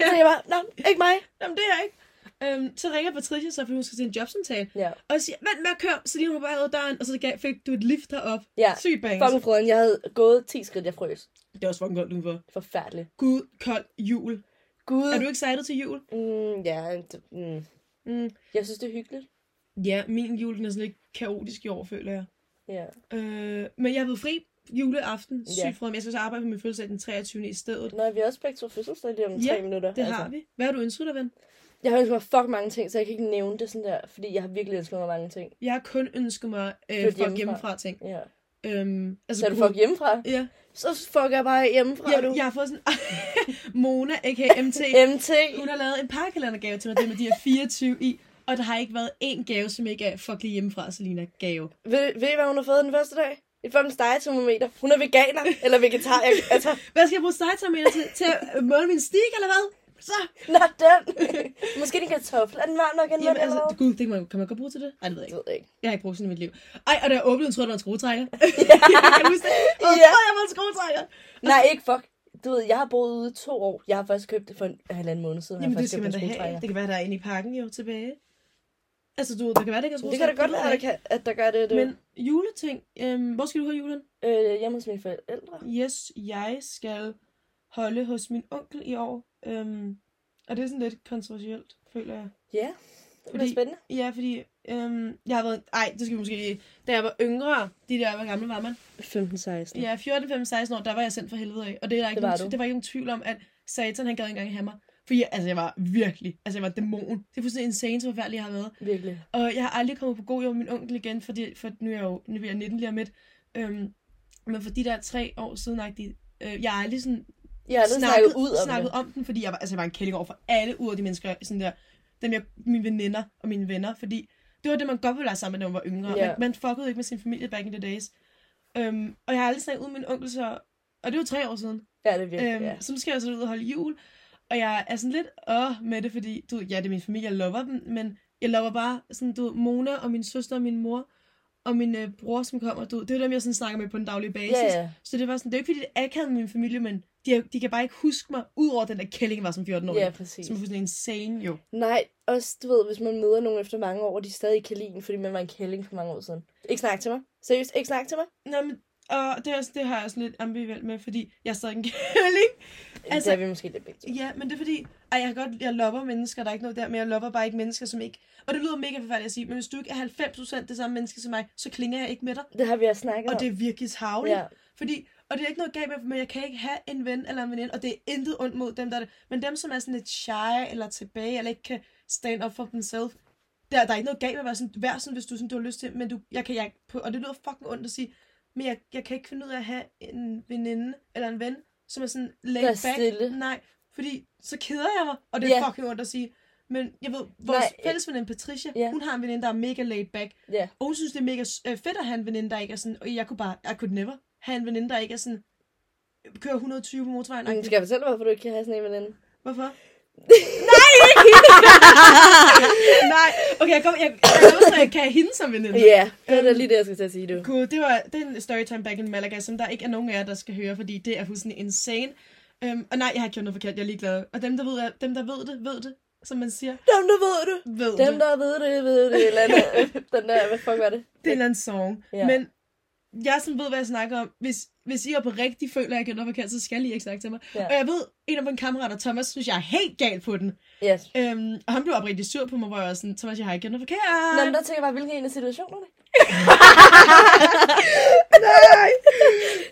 A: jeg bare, nå, ikke mig.
B: Jamen, det er jeg ikke. Øhm, så ringer Patricia, så for hun skal til en jobsamtale.
A: Ja.
B: Og siger, vent med at køre, så lige hun var bare ud af døren, og så gav, fik du et lift herop.
A: Ja.
B: Sygt bangs.
A: Fucking frøden, jeg havde gået 10 skridt, jeg frøs.
B: Det er også fucking godt udenfor.
A: Forfærdeligt.
B: Gud, kold jul.
A: Gud.
B: Er du excited til jul?
A: Mm, ja, det, mm.
B: Mm.
A: jeg synes, det er hyggeligt.
B: Ja, min jul den er sådan lidt kaotisk i år, føler jeg.
A: Ja.
B: Øh, men jeg har været fri juleaften, sygt
A: Ja.
B: yeah. jeg skal så arbejde på min fødselsdag den 23. i stedet.
A: Nå, vi har også begge to fødselsdag lige om
B: Ja,
A: tre minutter. altså.
B: Det har vi. Hvad har du ønsket dig, ven?
A: Jeg har ønsket mig fucking mange ting, så jeg kan ikke nævne det sådan der, fordi jeg har virkelig ønsket mig mange ting.
B: Jeg har kun ønsket mig øh,
A: Flytte
B: fuck
A: hjemmefra.
B: hjemmefra ting.
A: Ja.
B: Øhm, altså,
A: Så er du fuck hjemmefra?
B: Ja,
A: Så fucker jeg bare hjemmefra,
B: jeg,
A: du.
B: jeg har fået sådan... *laughs* Mona, aka MT,
A: *laughs* MT.
B: hun har lavet en pakkalendergave til mig, det med de her 24 i. Og der har ikke været én gave, som ikke er fuck lige hjemmefra, Selina gave.
A: Ved, ved I, hvad hun har fået den første dag? Et fucking stegetermometer. Hun er veganer, eller vegetar.
B: *laughs*
A: Jeg, altså,
B: Hvad skal jeg bruge stegeterminer til? Til at øh, måle min stik, eller hvad? Så!
A: not den. *laughs* Måske en kartoffel. Er den varm nok
B: Jamen,
A: indvendt, eller
B: altså,
A: hvad?
B: gud, det kan man, kan man godt bruge til det? Nej, det ved jeg
A: Jeg
B: ikke.
A: ved ikke.
B: Jeg har ikke brugt sådan i mit liv. Ej, og da
A: *laughs*
B: jeg åbnede, troede jeg, der var en skruetrækker. *laughs* kan du huske det? Jeg
A: Ja.
B: troede, jeg var en skruetrækker.
A: Nej, ikke fuck. du ved, jeg har boet ude i to år. Jeg har først købt det for en halvanden måned siden.
B: Jamen,
A: jeg har
B: det
A: først
B: skal man
A: købt en
B: da have.
A: skruetrækker.
B: Det kan være, der er inde i pakken jo tilbage. Altså, du, der kan være, det ikke er
A: Det kan da godt være, at der,
B: skruetrækker,
A: kan, at der gør det.
B: det
A: det.
B: ved jeg
A: Men...
B: ikke. Men juleting. Øhm, hvor skal du have julen?
A: Øh, hjemme hos mine forældre.
B: Yes, jeg skal holde hos min onkel i år. Øhm, og det er sådan lidt kontroversielt, føler jeg.
A: Ja, det bliver
B: Fordi-
A: spændende.
B: Ja, fordi øhm, jeg har været... Ej, det skal vi måske lige... Da jeg var yngre, de der, hvor gammel var man?
A: 15-16.
B: Ja, 14, 15, 16 år, der var jeg sendt for helvede af. Og det er der ikke
A: Det var
B: nogen,
A: du.
B: tv- det var ikke nogen tvivl om, at Satan, han gad ikke engang have mig. For jeg, altså, jeg var virkelig... Altså, jeg var dæmon. Det er fuldstændig insane, så forfærdelig jeg har været.
A: Virkelig.
B: Og jeg har aldrig kommet på god jord med min onkel igen, fordi, for nu er jeg jo nu bliver jeg 19 lige om lidt. Øhm, men for de der tre år siden, agtigt, øh, jeg har aldrig sådan
A: Jeg har aldrig snakket ud om
B: snakket
A: det.
B: om den, fordi jeg var, altså, jeg var en kælling over for alle ud af de mennesker, sådan der, dem jeg, mine veninder og mine venner, fordi det var det, man godt ville være sammen med, når man var yngre.
A: Ja.
B: Yeah. Man, man fuckede ikke med sin familie back in the days. Øhm, og jeg har aldrig snakket ud med min onkel, så, og det var tre år siden.
A: Ja, det er virkelig,
B: Øhm,
A: ja.
B: ja. Så nu skal jeg så ud og holde jul. Og jeg er sådan lidt åh med det, fordi du, ved, ja, det er min familie, jeg lover dem, men jeg lover bare sådan, du ved, Mona og min søster og min mor og min øh, bror, som kommer, du, ved, det er jo dem, jeg sådan snakker med på en daglig basis.
A: Ja, ja.
B: Så det var sådan, det er jo ikke, fordi det er akavet med min familie, men de, har- de kan bare ikke huske mig, udover den der kælling, jeg var som 14 år.
A: Ja,
B: Yeah.
A: præcis.
B: Som er fuldstændig insane, jo.
A: Nej, også du ved, hvis man møder nogen efter mange år, og de stadig kan lide en, fordi man var en kælling for mange år siden. Ikke snak til mig. Seriøst, ikke snak til mig.
B: Nå, men, og det, er også, det har jeg også lidt ambivalent med, fordi jeg er stadig en *laughs* kælling.
A: Altså,
B: Altså-
A: det er vi måske lidt begge. to.
B: Ja, men det er fordi, ej, jeg, kan godt, jeg lopper mennesker, der er ikke noget der, men jeg lopper bare ikke mennesker, som ikke... Og det lyder mega forfærdeligt at sige, men hvis du ikke er 90% det samme menneske som mig, så klinger jeg ikke med dig.
A: Det har vi også snakket
B: Og det
A: om.
B: er virkelig tavligt.
A: Ja.
B: Ja. Fordi, og det er ikke noget galt med, men jeg kan ikke have en ven eller en veninde, og det er intet ondt mod dem, der er det. Men dem, som er sådan lidt shy eller tilbage, eller ikke kan stand up for themselves, der, der er ikke noget galt med at være sådan, vær sådan, hvis du, sådan, du har lyst til, men du, jeg kan, jeg, på, og det lyder fucking ondt at sige, men jeg, jeg kan ikke finde ud af at have en veninde eller en ven, som er sådan laid
A: Der er
B: back.
A: stille.
B: Nej, fordi så keder jeg mig, og det er
A: Ja.
B: fucking ondt at sige. Men jeg ved, vores
A: Nej, øh,
B: fælles veninde Patricia,
A: ja.
B: hun har en veninde, der er mega laid back.
A: Ja.
B: Og hun synes, det er mega øh, fedt at have en veninde, der ikke er sådan, og jeg kunne bare, I could never have en veninde, der ikke er sådan, kører 120 på motorvejen.
A: Men
B: agtigt.
A: Mm, skal jeg fortælle, hvorfor du ikke kan have sådan en veninde? *laughs*
B: Hvorfor? Nej! *laughs* Nej, okay, jeg kommer, jeg, jeg, kommer, så jeg kan have hende som veninde.
A: Ja, det er da
B: Øhm.
A: lige det, jeg skal til at sige, du.
B: Gud, det var det er en storytime back in Malaga, som der ikke er nogen af jer, der skal høre, fordi det er fuldstændig insane. Øhm, og nej, jeg har ikke gjort noget forkert, jeg er ligeglad. Og dem, der ved, at- dem, der ved det, ved det, som man siger.
A: Dem, der ved det.
B: Ved
A: Dem,
B: det.
A: der ved det, ved det. Eller
B: *laughs*
A: andet. Den der, hvad fuck var det?
B: Det er en eller anden song.
A: Ja.
B: Ja. Men jeg sådan ved, hvad jeg snakker om. Hvis, hvis I er på rigtig føler, at jeg gør noget forkert, så skal I ikke snakke til mig.
A: Ja.
B: Ja. Og jeg ved, en af mine kammerater, Thomas, synes, jeg er helt gal på den.
A: Yes.
B: Øhm, og han blev oprigtig sur på mig, hvor jeg var sådan, Thomas, jeg har ikke gjort noget forkert.
A: Nå, men der tænker jeg bare, hvilken en af situationerne?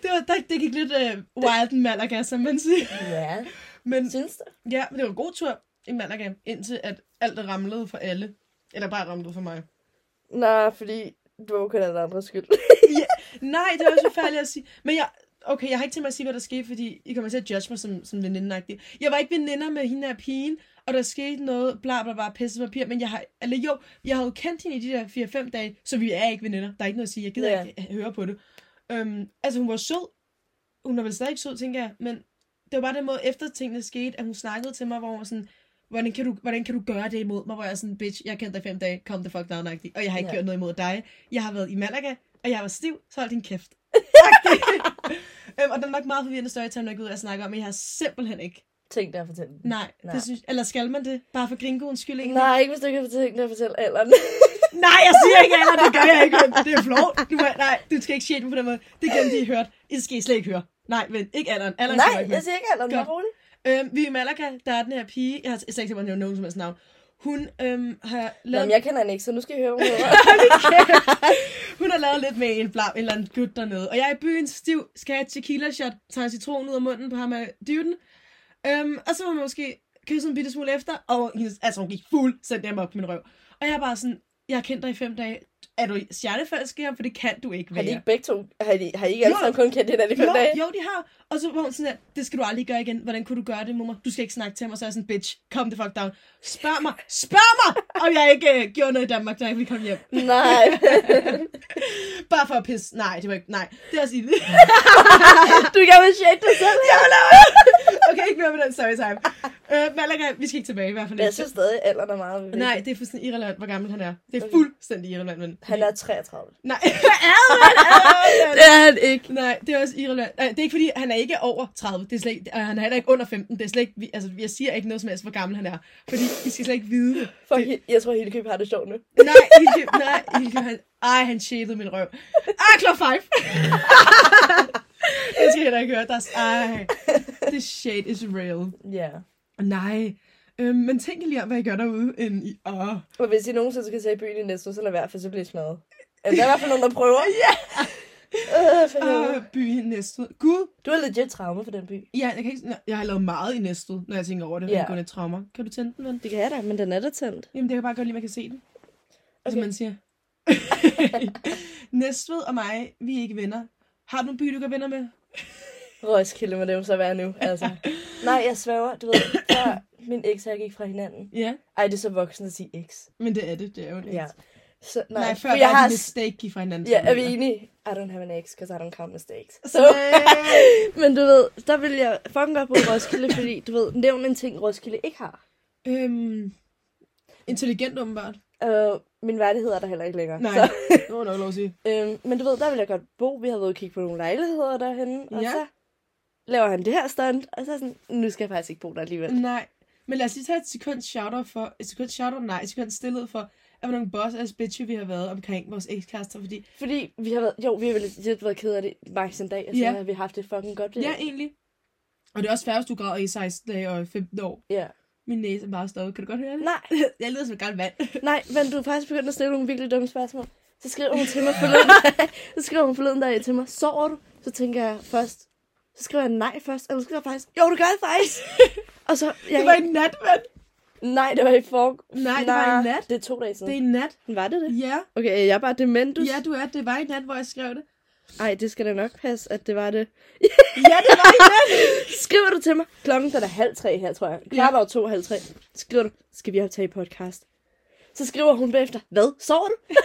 B: Det, var, der, det gik lidt øh, wild in Malaga, som man siger.
A: Ja.
B: Men
A: Synes du?
B: ja, men det var en god tur i Malaga, indtil at alt ramlede for alle. Eller bare ramlede for mig.
A: Nå, fordi du var kun af andres skyld.
B: Nej, det er også forfærdeligt at sige. Men jeg, okay, jeg har ikke tænkt mig at sige, hvad der skete, fordi I kommer til at judge mig som, som venindeagtig. Jeg var ikke veninder med hende her pigen, og der skete noget, bla bla bla, pisse papir, men jeg har, eller jo, jeg har jo kendt hende i de der 4-5 dage, så vi er ikke veninder. Der er ikke noget at sige, jeg gider
A: Ja.
B: ja. ikke høre på det. Øhm, altså, hun var sød. Hun er vel stadig sød, tænker jeg, men det var bare den måde, efter tingene skete, at hun snakkede til mig, hvor hun var sådan, hvordan kan, du, hvordan kan du gøre det imod mig, hvor jeg er sådan, bitch, jeg kendte dig i fem dage, kom the fuck down, agtig. og jeg har ikke
A: Ja.
B: ja. gjort noget imod dig. Jeg har været i Malaga, og jeg var stiv, så hold din
A: *laughs*
B: kæft. øhm, og det er nok meget forvirrende storytime, når jeg går ud og snakker om, men jeg har simpelthen ikke.
A: Tænk dig at fortælle den.
B: Nej,
A: Nej.
B: Nej. Det synes, eller skal man det? Bare for gringoens skyld egentlig?
A: Nej, ikke hvis du ikke har tænkt dig at fortælle alderen.
B: Nej, jeg siger ikke alder, det gør jeg ikke. men Det er flot. Du må, nej, du skal ikke shit på den måde. Det glemte I hørt. I skal I slet ikke høre. Nej, men ikke alderen. alderen
A: Nej,
B: kommer ikke med.
A: jeg siger ikke alderen. Vær
B: Godt.
A: rolig.
B: Øhm, vi er i Malaga, der er den her pige, jeg har slet ikke tænkt mig nogen som helst navn. Hun, øhm, har
A: Nå,
B: lavet,
A: men jeg kender hende ikke, så nu skal I høre, hvad hun hedder.
B: *laughs* hun har lavet lidt med en blam, en eller anden gut dernede. Og jeg er i byen stiv, skal have et tequila shot, tager en citron ud af munden på ham af dyden. Øhm, og så var man måske kysse en bitte smule efter, og hendes, altså hun gik fuldstændig ham op på min røv. Og jeg er bare sådan, jeg har kendt dig i fem dage. Er du stjernefaldskærm? For det kan du ikke
A: Har
B: være.
A: de ikke begge to, har de, har I ikke alle
B: Jo.
A: sammen kun kendt
B: *laughs*
A: hinanden i fem
B: Jo,
A: dage?
B: jo, de har. Og så var hun sådan her, det skal du aldrig gøre igen. Hvordan kunne du gøre det, mor? Du skal ikke snakke til mig. Så er jeg sådan, bitch, kom the fuck down. Spørg mig, spørg mig, om jeg ikke øh, gjorde noget i Danmark, da jeg ville komme hjem.
A: Nej.
B: Bare for at pisse. Nej, det var ikke, nej. Det er også i
A: du kan vel shake dig selv.
B: Jeg vil lave *laughs* okay, ikke mere med den storytime. øh, Malaga, vi skal ikke tilbage i hvert
A: Men
B: fald.
A: jeg
B: ikke.
A: synes stadig, alderen er meget vigtig.
B: Nej, det er fuldstændig irrelevant, hvor gammel han er. Det er
A: Okay.
B: fuldstændig irrelevant, men...
A: Han er 33.
B: Nej, *laughs* Adrian, Adrian!
A: Det er han ikke.
B: Nej, det er også irrelevant. Nej, det er ikke fordi, han er ikke over 30. Det er slet ikke, og han er heller ikke under 15. Det er slet ikke, vi- altså, jeg siger ikke noget som helst, hvor gammel han er. Fordi I skal slet ikke vide det.
A: For det... Jeg tror, Hildekøb har det sjovt nu.
B: Nej, Ilke, nej, Ilke, han, ej, han shadede min røv. Ah, klok 5. det skal *laughs* jeg heller ikke høre. Der er, s- ej, the shade is real.
A: Ja.
B: Nej, øhm, men tænk lige om, hvad jeg gør derude. End i, åh.
A: Og hvis I nogensinde skal tage i byen i næste, så lad være, for så bliver I smadret. Altså, der er i hvert fald nogen, der prøver. *laughs* Ja! Øh, for helvede.
B: Åh, by i Næstved. Gud,
A: du har legit traume for den by.
B: ja, jeg, kan ikke, nå, jeg har lavet meget i Næstved, når jeg tænker over det.
A: Ja.
B: Yeah. Jeg traumer. Kan du tænde den, ven?
A: Det kan jeg da, men den er da tændt.
B: Jamen, det kan bare godt lide, at man kan se den. Okay. Som
A: Okay.
B: man siger. *laughs* Næstved og mig, vi er ikke venner. Har du en by, du kan venner med?
A: Roskilde må det jo så være nu, altså. *laughs* Nej, jeg sværger, du ved, før min eks og jeg gik fra hinanden.
B: Ja,
A: Ej, det er så voksen at sige eks.
B: men det er det. Det er jo en
A: Ja. Så, nej,
B: Nej, nej
A: for
B: før jeg
A: jeg
B: var har...
A: har...
B: det
A: s-
B: mistake fra hinanden.
A: Ja, er vi enige? I don't have an ex, because I don't count mistakes.
B: Så,
A: So,
B: Øh,
A: men du ved, der vil jeg fucking godt bruge Roskilde, fordi du ved, nævn en ting, Roskilde ikke har.
B: øhm, intelligent åbenbart.
A: Og Øh, min værdighed er der heller ikke længere.
B: Nej,
A: Så, *laughs*
B: det var nok lov at sige.
A: øhm, men du ved, der vil jeg godt bo. Vi har været ude og kigge på nogle lejligheder derhenne, og
B: Ja.
A: så laver han det her stunt, og så er jeg sådan, nu skal jeg faktisk ikke bo der alligevel.
B: Nej, men lad os lige tage et sekund shout for, et sekund shout nej, et sekund stillhed for, at hvor nogle boss ass bitches vi har været omkring vores ekskærester, fordi,
A: Fordi vi har været, jo, vi har vel lidt været ked af det max en dag, og så
B: Ja.
A: har vi haft det fucking godt.
B: ja, egentlig. Og det er også færre, hvis du græder i 16 dage og 15 år.
A: ja.
B: Min næse er bare stoppet. Kan du godt høre det?
A: Nej, *laughs*
B: Jeg lyder som et gammelt mand.
A: nej, men du er faktisk begyndt at stille nogle virkelig dumme spørgsmål. Så skriver hun
B: *laughs*
A: til mig forleden dag, så skriver hun forleden dag til mig, sover du? Så tænker jeg først, så skriver jeg nej først, og så skriver jeg faktisk, jo, det gør jeg
B: *laughs*
A: faktisk. og så, jeg,
B: Det var i nat, mand.
A: nej, det var i forg.
B: Nej, det var i
A: Nå,
B: nat.
A: Det er to dage
B: Det
A: siden.
B: er i nat.
A: Det... Var det det?
B: Ja.
A: Okay, jeg er bare dementus.
B: Ja, du er. Det var i nat, hvor jeg skrev det.
A: Ej, det skal da nok passe, at det var det.
B: Ja, det var i nat.
A: Skriver du til mig, klokken den er halv tre her, tror jeg. Kvart over to, halv tre. Skriver du, skal vi optage podcast? Så skriver hun bagefter, hvad, sover du? *laughs*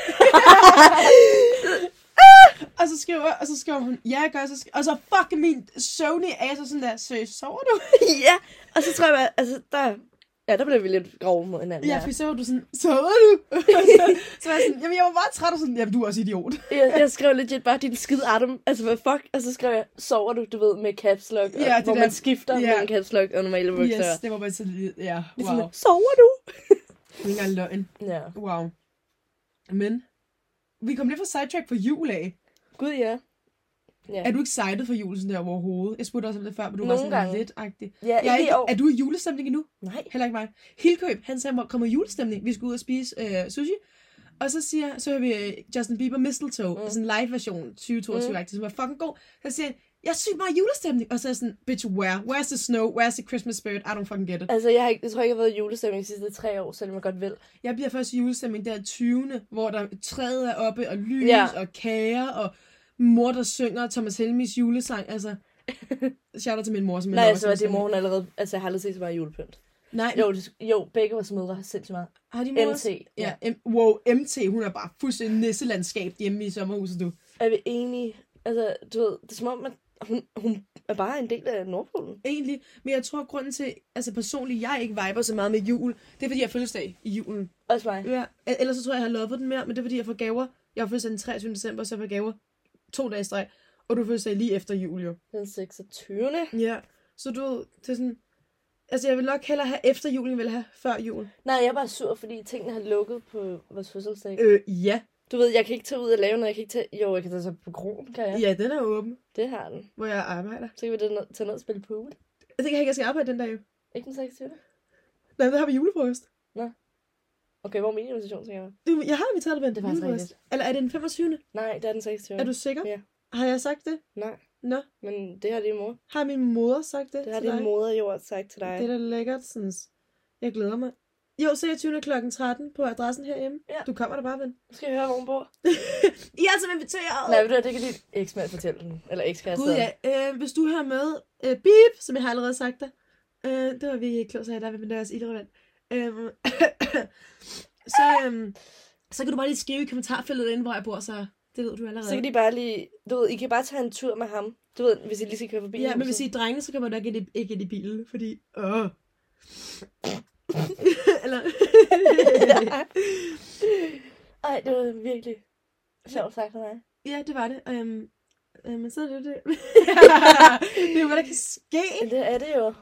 B: Og så skriver, og så skriver hun, ja, jeg gør, så sk- og så fuck min Sony ass og sådan der, seriøst, sover du?
A: ja, og så tror jeg bare, altså, der, ja, der blev vi lidt grove mod hinanden.
B: Ja,
A: der.
B: for så var du sådan, sover du? *laughs* Og så, så var jeg sådan, jamen jeg var meget træt, og sådan, jamen du er også idiot.
A: jeg, jeg skrev legit bare, din skide Adam, altså hvad fuck? Og så skrev jeg, sover du, du ved, med caps lock, og,
B: Ja, det
A: hvor
B: der-
A: man skifter
B: ja.
A: mellem caps lock og normale bukser.
B: Yes, det var bare sådan, ja,
A: Det er
B: wow.
A: sådan, sover du?
B: Det er ikke engang løgn.
A: Ja.
B: Wow. Men, vi kom lidt fra sidetrack for jul af.
A: Gud, ja. Ja,
B: Er du excited for jul sådan der overhovedet? Jeg spurgte også om det før, men du var
A: Nogle
B: sådan
A: gange.
B: lidt-agtig.
A: ja
B: Jeg er,
A: ikke i år.
B: ikke, er du i julestemning endnu?
A: Nej.
B: Heller ikke mig. Hildkøb, han sagde, hvor kommer julestemning? Vi skulle ud og spise øh, sushi. Og så siger, så hører vi øh, Justin Bieber Mistletoe, mm. sådan en live version, 2022 mm. som var fucking god. Så siger han, jeg er sygt meget julestemning. Og så er jeg sådan, bitch, where? Where's the snow? Where's the Christmas spirit? I don't fucking get it.
A: Altså, jeg, har ikke, jeg tror ikke, jeg har været i julestemning de sidste tre år, selvom jeg godt vil.
B: Jeg bliver først i julestemning der 20. Hvor der træet er oppe, og lys,
A: Ja.
B: og kager, og mor, der synger Thomas Helmis julesang. Altså, shout out til min mor, som jeg
A: Nej,
B: laver
A: altså, var det
B: julestemning.
A: mor, hun allerede... Altså, jeg har aldrig set så meget julepynt.
B: Nej,
A: Jo, det, jo begge vores mødre har sindssygt meget.
B: har de mor?
A: MT. Ja.
B: Ja, M- wow, MT, hun er bare fuldstændig nisselandskab hjemme i sommerhuset, du.
A: Er vi enige? Altså, du ved, det er som om, at hun, hun er bare en del af Nordpolen.
B: Egentlig, men jeg tror, grunden til, altså personligt, jeg ikke viber så meget med jul, det er, fordi jeg har fødselsdag i julen.
A: Også mig.
B: Ja. Ellers så tror jeg, jeg har lovet den mere, men det er, fordi jeg får gaver. Jeg har fødselsdag den 23. december, så jeg får gaver to dage i streg, og du har fødselsdag lige efter jul, jo.
A: Den 26.
B: Ja, så du ved, det er sådan, altså jeg vil nok hellere have efter jul, end jeg vil have før jul.
A: Nej, jeg er bare sur, fordi tingene har lukket på vores fødselsdag.
B: Øh, ja.
A: Du ved, jeg kan ikke tage ud og lave noget. Jeg kan ikke tage... Jo, jeg kan tage så på krogen, kan jeg.
B: Ja, den er åben,
A: Det har den.
B: hvor jeg arbejder.
A: Så kan vi da ned- tage ned og spille pool.
B: Jeg tænker ikke, jeg skal arbejde den dag, jo.
A: Ikke den 26.
B: Nej, der har vi julefrokost.
A: Okay, hvor er min invitation, tænker jeg?
B: Du, jeg har inviteret dig på en
A: Det er faktisk
B: julefrokost. Eller er det den 25.
A: Nej, det er den 26.
B: Er du sikker?
A: Ja.
B: Har jeg sagt det?
A: Nej,
B: Nå.
A: men det har din mor.
B: Har min mor sagt det?
A: Det har
B: til
A: din
B: dig?
A: moder jo også sagt til dig.
B: Det er da lækkert, sådan. Jeg glæder mig. Jo, 26. kl. 13 på adressen herhjemme.
A: Ja.
B: Du kommer da bare, ven.
A: Nu skal jeg høre, hvor hun bor.
B: I er altså inviteret!
A: Nej, ved du hvad, det kan din eksmand fortælle den. Eller ekskæreste.
B: Gud ja, øh, hvis du hører med, øh, beep, som jeg har allerede sagt dig. Øh, det var virkelig klogt, sagde jeg dig, men det er også irrelevant. *coughs* Øh, øhm, så, øh, så kan du bare lige skrive i kommentarfeltet inde, hvor jeg bor, så Det ved du allerede.
A: Så kan de bare lige... Du ved, I kan bare tage en tur med ham. Du ved, hvis I lige skal køre forbi
B: Ja, men
A: huset.
B: hvis I er drenge, så kommer du nok ikke, ikke ind i bilen, fordi... *laughs* Åh. Eller...
A: Ej, det var virkelig sjovt sagt af mig.
B: *laughs* ja, det var det. Øhm, øh, men så er det jo *laughs* det. det er jo, hvad der kan ske.
A: Men det er det jo.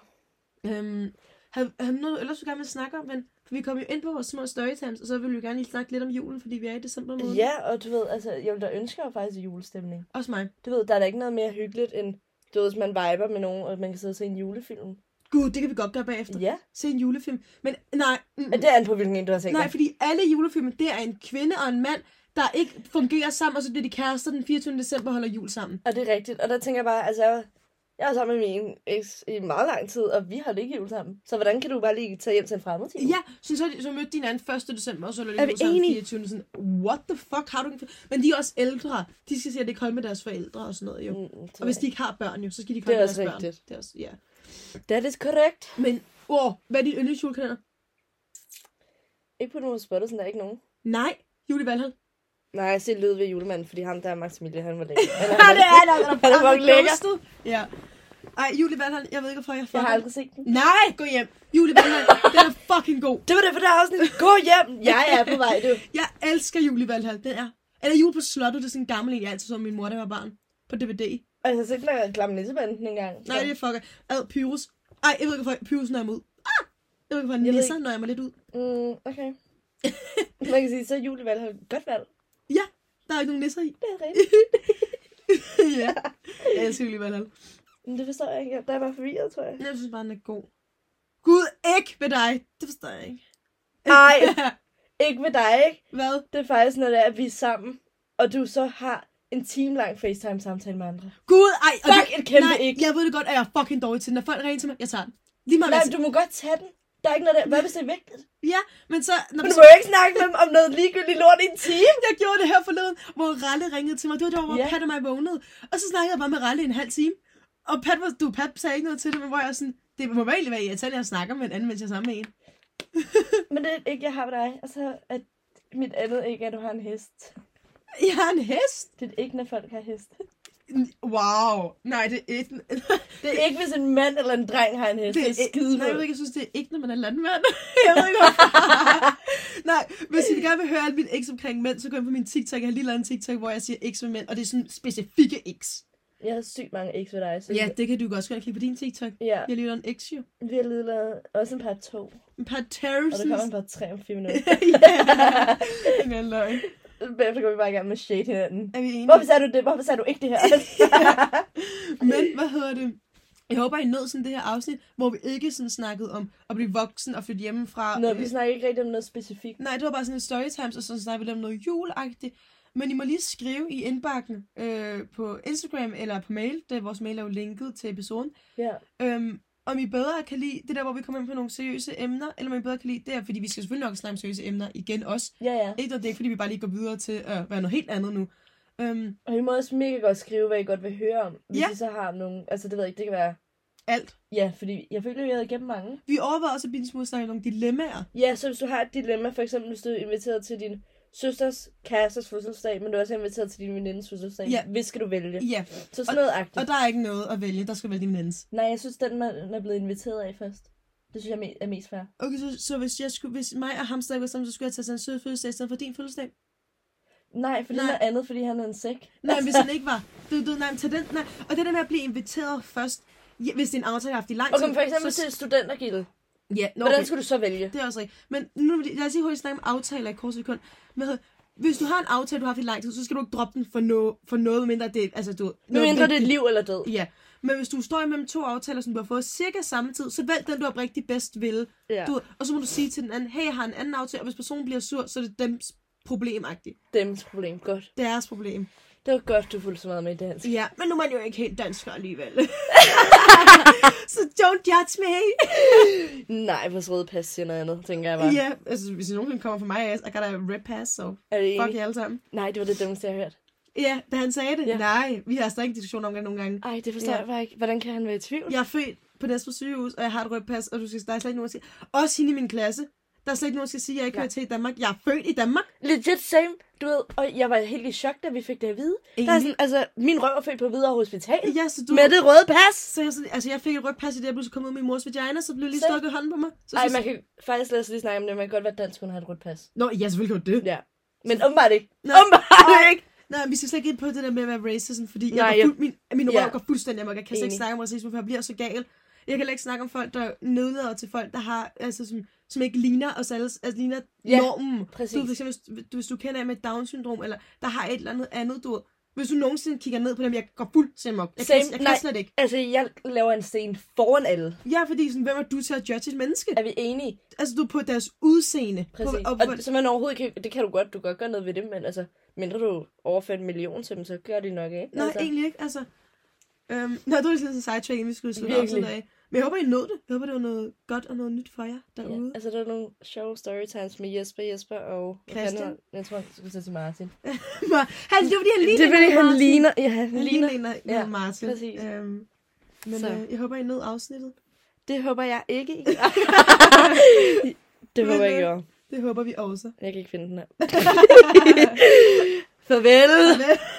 B: Øhm, havde, havde noget ellers, du gerne vil snakke om, men for vi kom jo ind på vores små storytimes, og så ville vi jo gerne lige snakke lidt om julen, fordi vi er i december måned.
A: Ja, og du ved, altså, jeg der ønsker jeg faktisk julestemning.
B: Også mig.
A: Du ved, der er da ikke noget mere hyggeligt end, du ved, hvis man viber med nogen, og man kan sidde og se en julefilm.
B: Gud, det kan vi godt gøre bagefter.
A: Ja,
B: Se en julefilm. Men nej, mm,
A: men det er an på, hvilken en du har tænkt
B: nej,
A: dig.
B: fordi alle julefilm, det er en kvinde og en mand, der ikke fungerer sammen, og så bliver de kærester den 24. december og holder jul sammen.
A: Og det er rigtigt. Og der tænker jeg bare, altså, jeg var, jeg var sammen med min eks i meget lang tid, og vi holdt ikke jul sammen. Så hvordan kan du bare lige tage hjem til en fremmed time?
B: Ja, så, så, så mødte de hinanden 1. december, og så løb
A: Er vi
B: de sammen
A: enige?
B: 24. Sådan, what the fuck har du ikke... Men de er også ældre. De skal se, at det holde med deres forældre og sådan noget, jo.
A: Mm,
B: Og hvis de ikke har børn, jo, så skal de
A: Det er
B: komme med deres
A: også
B: børn.
A: rigtigt.
B: Det er også ja.
A: That is correct.
B: Men, wow, hvad er din yndlingsjulekalender?
A: Ikke på nogen spottet, sådan der er ikke nogen.
B: Nej, Julie
A: *laughs*
B: Valhall.
A: Nej, jeg ser lyd ved julemanden, fordi ham der er Maximilian, han var lækker. *laughs* Eller,
B: Ja, det er der.
A: Han er fucking lækker.
B: Ja. Ej, Julie Valhall, jeg ved ikke, hvorfor jeg
A: Jeg
B: fucking...
A: har aldrig set den.
B: Nej, gå hjem. Julie Valhall, den er fucking god.
A: Det var det for det her afsnit. Gå hjem! *laughs* Jeg er på vej, du.
B: Jeg elsker Julie Valhall, den er. Eller Jul på slottet, det er sådan en gammel en, jeg altid så min mor, der var barn. På DVD.
A: Og jeg har set den der klamme nissebanden engang.
B: Nej, det er fucker. Ad, Pyrus. Ej, jeg ved ikke, hvorfor Pyrus nøjer mig ud. Ah! Jeg ved ikke,
A: Jeg
B: hvorfor
A: ved
B: Nisser nøjer mig lidt ud.
A: Mm, *laughs* okay. Man kan sige, så er julevalg har et godt valg.
B: Ja, der er ikke nogen nisser *laughs* i.
A: Det er *laughs* rigtigt.
B: ja. Jeg elsker Julie Valhall.
A: Men det forstår jeg ikke. Der er bare forvirret, tror jeg.
B: Jeg synes bare, den er god. Gud, ikke ved dig. Det forstår jeg ikke.
A: Nej, ikke med dig, ikke?
B: *laughs* Hvad?
A: Det er faktisk, når det er, at vi er sammen, og du så har en time lang FaceTime-samtale med andre.
B: Gud, ej. og
A: Fuck, et kæmpe
B: nej,
A: ikke.
B: jeg ved det godt, at jeg er fucking dårlig til det. Når folk ringer til mig, jeg tager den. Lige meget,
A: Nej,
B: hvad
A: men
B: jeg
A: du må godt tage den. Der er ikke noget der. Hvad hvis det er vigtigt?
B: siger. Ja, men så... Når
A: Men du må jo ikke snakke med dem om noget ligegyldigt lort i en time.
B: jeg gjorde det her forleden, hvor Ralle ringede til mig. Det var der, hvor
A: Ja.
B: yeah. Pat og mig vågnede. Og så snakkede jeg bare med Ralle i en halv time. Og Pat, var, du, Pat sagde ikke noget til det, men hvor jeg sådan... Det må vel egentlig være irriterende, at jeg snakker med en anden, mens jeg er sammen med en.
A: Men det er et ikke, jeg har med dig. Og så at mit andet ikke, er, at du har en hest.
B: Jeg har en hest.
A: Det er et ikke, når folk har hest.
B: Wow. Nej, det er ikke...
A: *laughs*
B: *laughs*
A: Det er ikke, hvis en mand eller en dreng har en hest. Det er,
B: ikke-
A: skide
B: Nej, jeg ved ikke, jeg synes, det er ikke, når man er landmand. *laughs* jeg ved ikke, hvorfor. Nej, hvis I gerne vil høre alt mit eks omkring mænd, så gå ind på min TikTok. Jeg har lige lavet en TikTok, hvor jeg siger eks med mænd, og det er sådan specifikke eks.
A: Jeg har sygt mange eks ved dig. Så
B: Ja, det kan du godt skrive kigge på din TikTok.
A: ja.
B: Jeg lytter en eks jo.
A: Vi har lige lavet også en par to.
B: En par
A: Og der
B: terrorsens.
A: kommer en par tre om fire *laughs*
B: *laughs*
A: minutter.
B: ja, det er løgn.
A: Bagefter går vi bare i gang med at shade hinanden.
B: Er vi enige?
A: Hvorfor sagde du det? Hvorfor sagde du ikke det *laughs* her?
B: Men hvad hedder det? Jeg håber, I nød sådan det her afsnit, hvor vi ikke sådan snakkede om at blive voksen og flytte hjemmefra.
A: Nå,
B: Øh,
A: vi snakker ikke rigtig om noget specifikt.
B: Nej, det var bare sådan et storytimes, og så snakkede vi lidt om noget juleagtigt. Men I må lige skrive i indbakken øh, på Instagram eller på mail, da vores mail er jo linket til episoden,
A: Ja.
B: øhm, om I bedre kan lide det der, hvor vi kommer ind på nogle seriøse emner, eller om I bedre kan lide det her, fordi vi skal selvfølgelig nok snakke om seriøse emner igen også.
A: Ja, ja.
B: Ikke, og det er ikke, fordi vi bare lige går videre til at være noget helt andet nu. Øhm,
A: Og I må også mega godt skrive, hvad I godt vil høre om. Hvis
B: Ja.
A: I så har nogle... Altså, det ved jeg ikke, det kan være...
B: alt.
A: Ja, fordi jeg føler, at jeg havde igennem mange.
B: Vi overvejede også at blive en smule snakke om nogle dilemmaer.
A: Ja, så hvis du har et dilemma, for eksempel hvis du er inviteret til din søsters kærestes fødselsdag, men du er også inviteret til din venindes fødselsdag,
B: Ja.
A: ja. hvis skal du vælge?
B: Ja,
A: Så sådan noget agtigt.
B: og der er ikke noget at vælge, der skal vælge din vens.
A: Nej, jeg synes, den man man er blevet inviteret af først. Det synes jeg me- er mest fair.
B: Okay, så, så hvis, jeg skulle, hvis mig og ham stadig var sammen, så skulle jeg tage til en sød fødselsdag i stedet for din fødselsdag?
A: Nej, fordi
B: Nej. Altså,
A: nej. noget andet, fordi han er en sæk.
B: Nej, hvis han ikke var. Du, du, nej, men tag den. Nej. Og det der med at blive inviteret først, ja, hvis det er en aftale, jeg har haft i lang tid.
A: Okay, men for eksempel
B: så,
A: til studentergildet.
B: ja, nå,
A: Hvordan
B: okay.
A: skulle du så vælge?
B: Det er også rigtigt. Men nu vil jeg- lad os lige hurtigt snakke om aftaler i kort sekund. Med, hvis du har en aftale, du har haft i lang tid, så skal du ikke droppe den for, no, for noget, mindre det er- altså, du,
A: Nu mindre det er liv eller død.
B: Ja, men hvis du står imellem to aftaler, som du har fået cirka samme tid, så vælg den, du har rigtig bedst vil.
A: Ja.
B: Du, og så må du sige til den anden, hey, jeg har en anden aftale, og hvis personen bliver sur, så er det dems problemagtigt.
A: Dems problem. Godt.
B: Deres problem.
A: Det var godt, du fulgte så meget med i dansk.
B: Ja, men nu er man jo ikke helt dansker *laughs* alligevel. så don't judge me.
A: Nej, vores røde pas siger noget andet, tænker jeg bare.
B: Ja, altså hvis nogen kommer fra mig, I got a red pass, så so
A: Er det
B: fuck
A: enig?
B: jer alle sammen.
A: Nej, det var det dummeste, jeg har hørt.
B: Ja, da han sagde det,
A: Ja.
B: nej, vi har stadig en diskussion om det nogle gange.
A: Ej, det forstår
B: Ja.
A: ja. jeg bare ikke. Hvordan kan han være i tvivl?
B: Jeg er født på Næstved sygehus, og jeg har et rødt pas, og du skal der er slet ikke nogen at sige. Også hende i min klasse. Der er slet ikke nogen, der skal sige, at jeg ikke hører til i Danmark. Jeg er født i Danmark.
A: Legit same, du ved. Og jeg var helt i chok, da vi fik det at vide. Der er
B: Enig.
A: sådan, altså, min røv er født på Hvidovre Hospital.
B: Ja, så du...
A: Med det røde pas.
B: Så jeg, sådan- altså, jeg fik et rødt pas i det, jeg pludselig kom ud af min mors vagina, så blev lige
A: Se.
B: stukket hånden på mig. Så,
A: Nej,
B: så,
A: man kan faktisk lade os lige snakke om det. Man kan godt være dansk, hun har et rødt pas.
B: Nå, ja, selvfølgelig gjorde det.
A: Ja. Men åbenbart ikke.
B: Nej.
A: Åbenbart
B: Nej.
A: ikke.
B: Nej, men vi skal slet ikke ind på det der med at være racism, fordi
A: Nej,
B: jeg
A: jeg-
B: går fuld, min, min røv
A: Ja.
B: går fuldstændig amok. Jeg kan slet ikke
A: Enig.
B: snakke om racisme, for jeg bliver så gal. Jeg kan heller ikke snakke om folk, der nedlader til folk, der har, altså, som, som ikke ligner os alle, altså ligner
A: Ja,
B: normen.
A: præcis.
B: Du, ved, for eksempel, hvis du, hvis du kender en med Down-syndrom, eller der har et eller andet andet, du ved, hvis du nogensinde kigger ned på dem, jeg går fuldstændig amok. Jeg, kan,
A: Same.
B: jeg kan
A: Nej.
B: slet ikke.
A: Altså, jeg laver en scene foran alle.
B: Ja, fordi sådan, hvem er du til at judge et menneske?
A: Er vi enige?
B: Altså, du er på deres udseende.
A: Præcis.
B: På,
A: Og,
B: og, på,
A: så man overhovedet kan, det kan du godt, du kan godt gøre noget ved det, men altså, mindre du overfører en million til dem, så gør de nok ikke.
B: nej,
A: altså.
B: egentlig ikke, altså. Øhm, nej, du er sådan en sidetrack, inden vi skulle slutte
A: Virkelig.
B: afsnittet af. Men jeg håber, I nåede det. Jeg håber, det var noget godt og noget nyt for jer derude.
A: Ja,
B: *laughs*
A: altså, der er nogle sjove storytimes med Jesper, Jesper og... hvad
B: Christian.
A: fanden hedder han? Jeg tror, han skulle sige til Martin.
B: Mar- han, altså, det er fordi, han ligner
A: det er fordi,
B: Elon
A: han
B: Musk.
A: ligner. Ja, han,
B: Han
A: ligner.
B: ligner, ligner
A: Ja,
B: ja, Martin.
A: præcis.
B: Øhm, men
A: Så.
B: øh, jeg håber, I nød afsnittet.
A: Det håber jeg ikke, I gør. *laughs* det håber jeg
B: Men, øh,
A: ikke, jeg gør.
B: Det håber vi også.
A: Jeg kan ikke finde den her. *laughs* Farvel.
B: Farvel.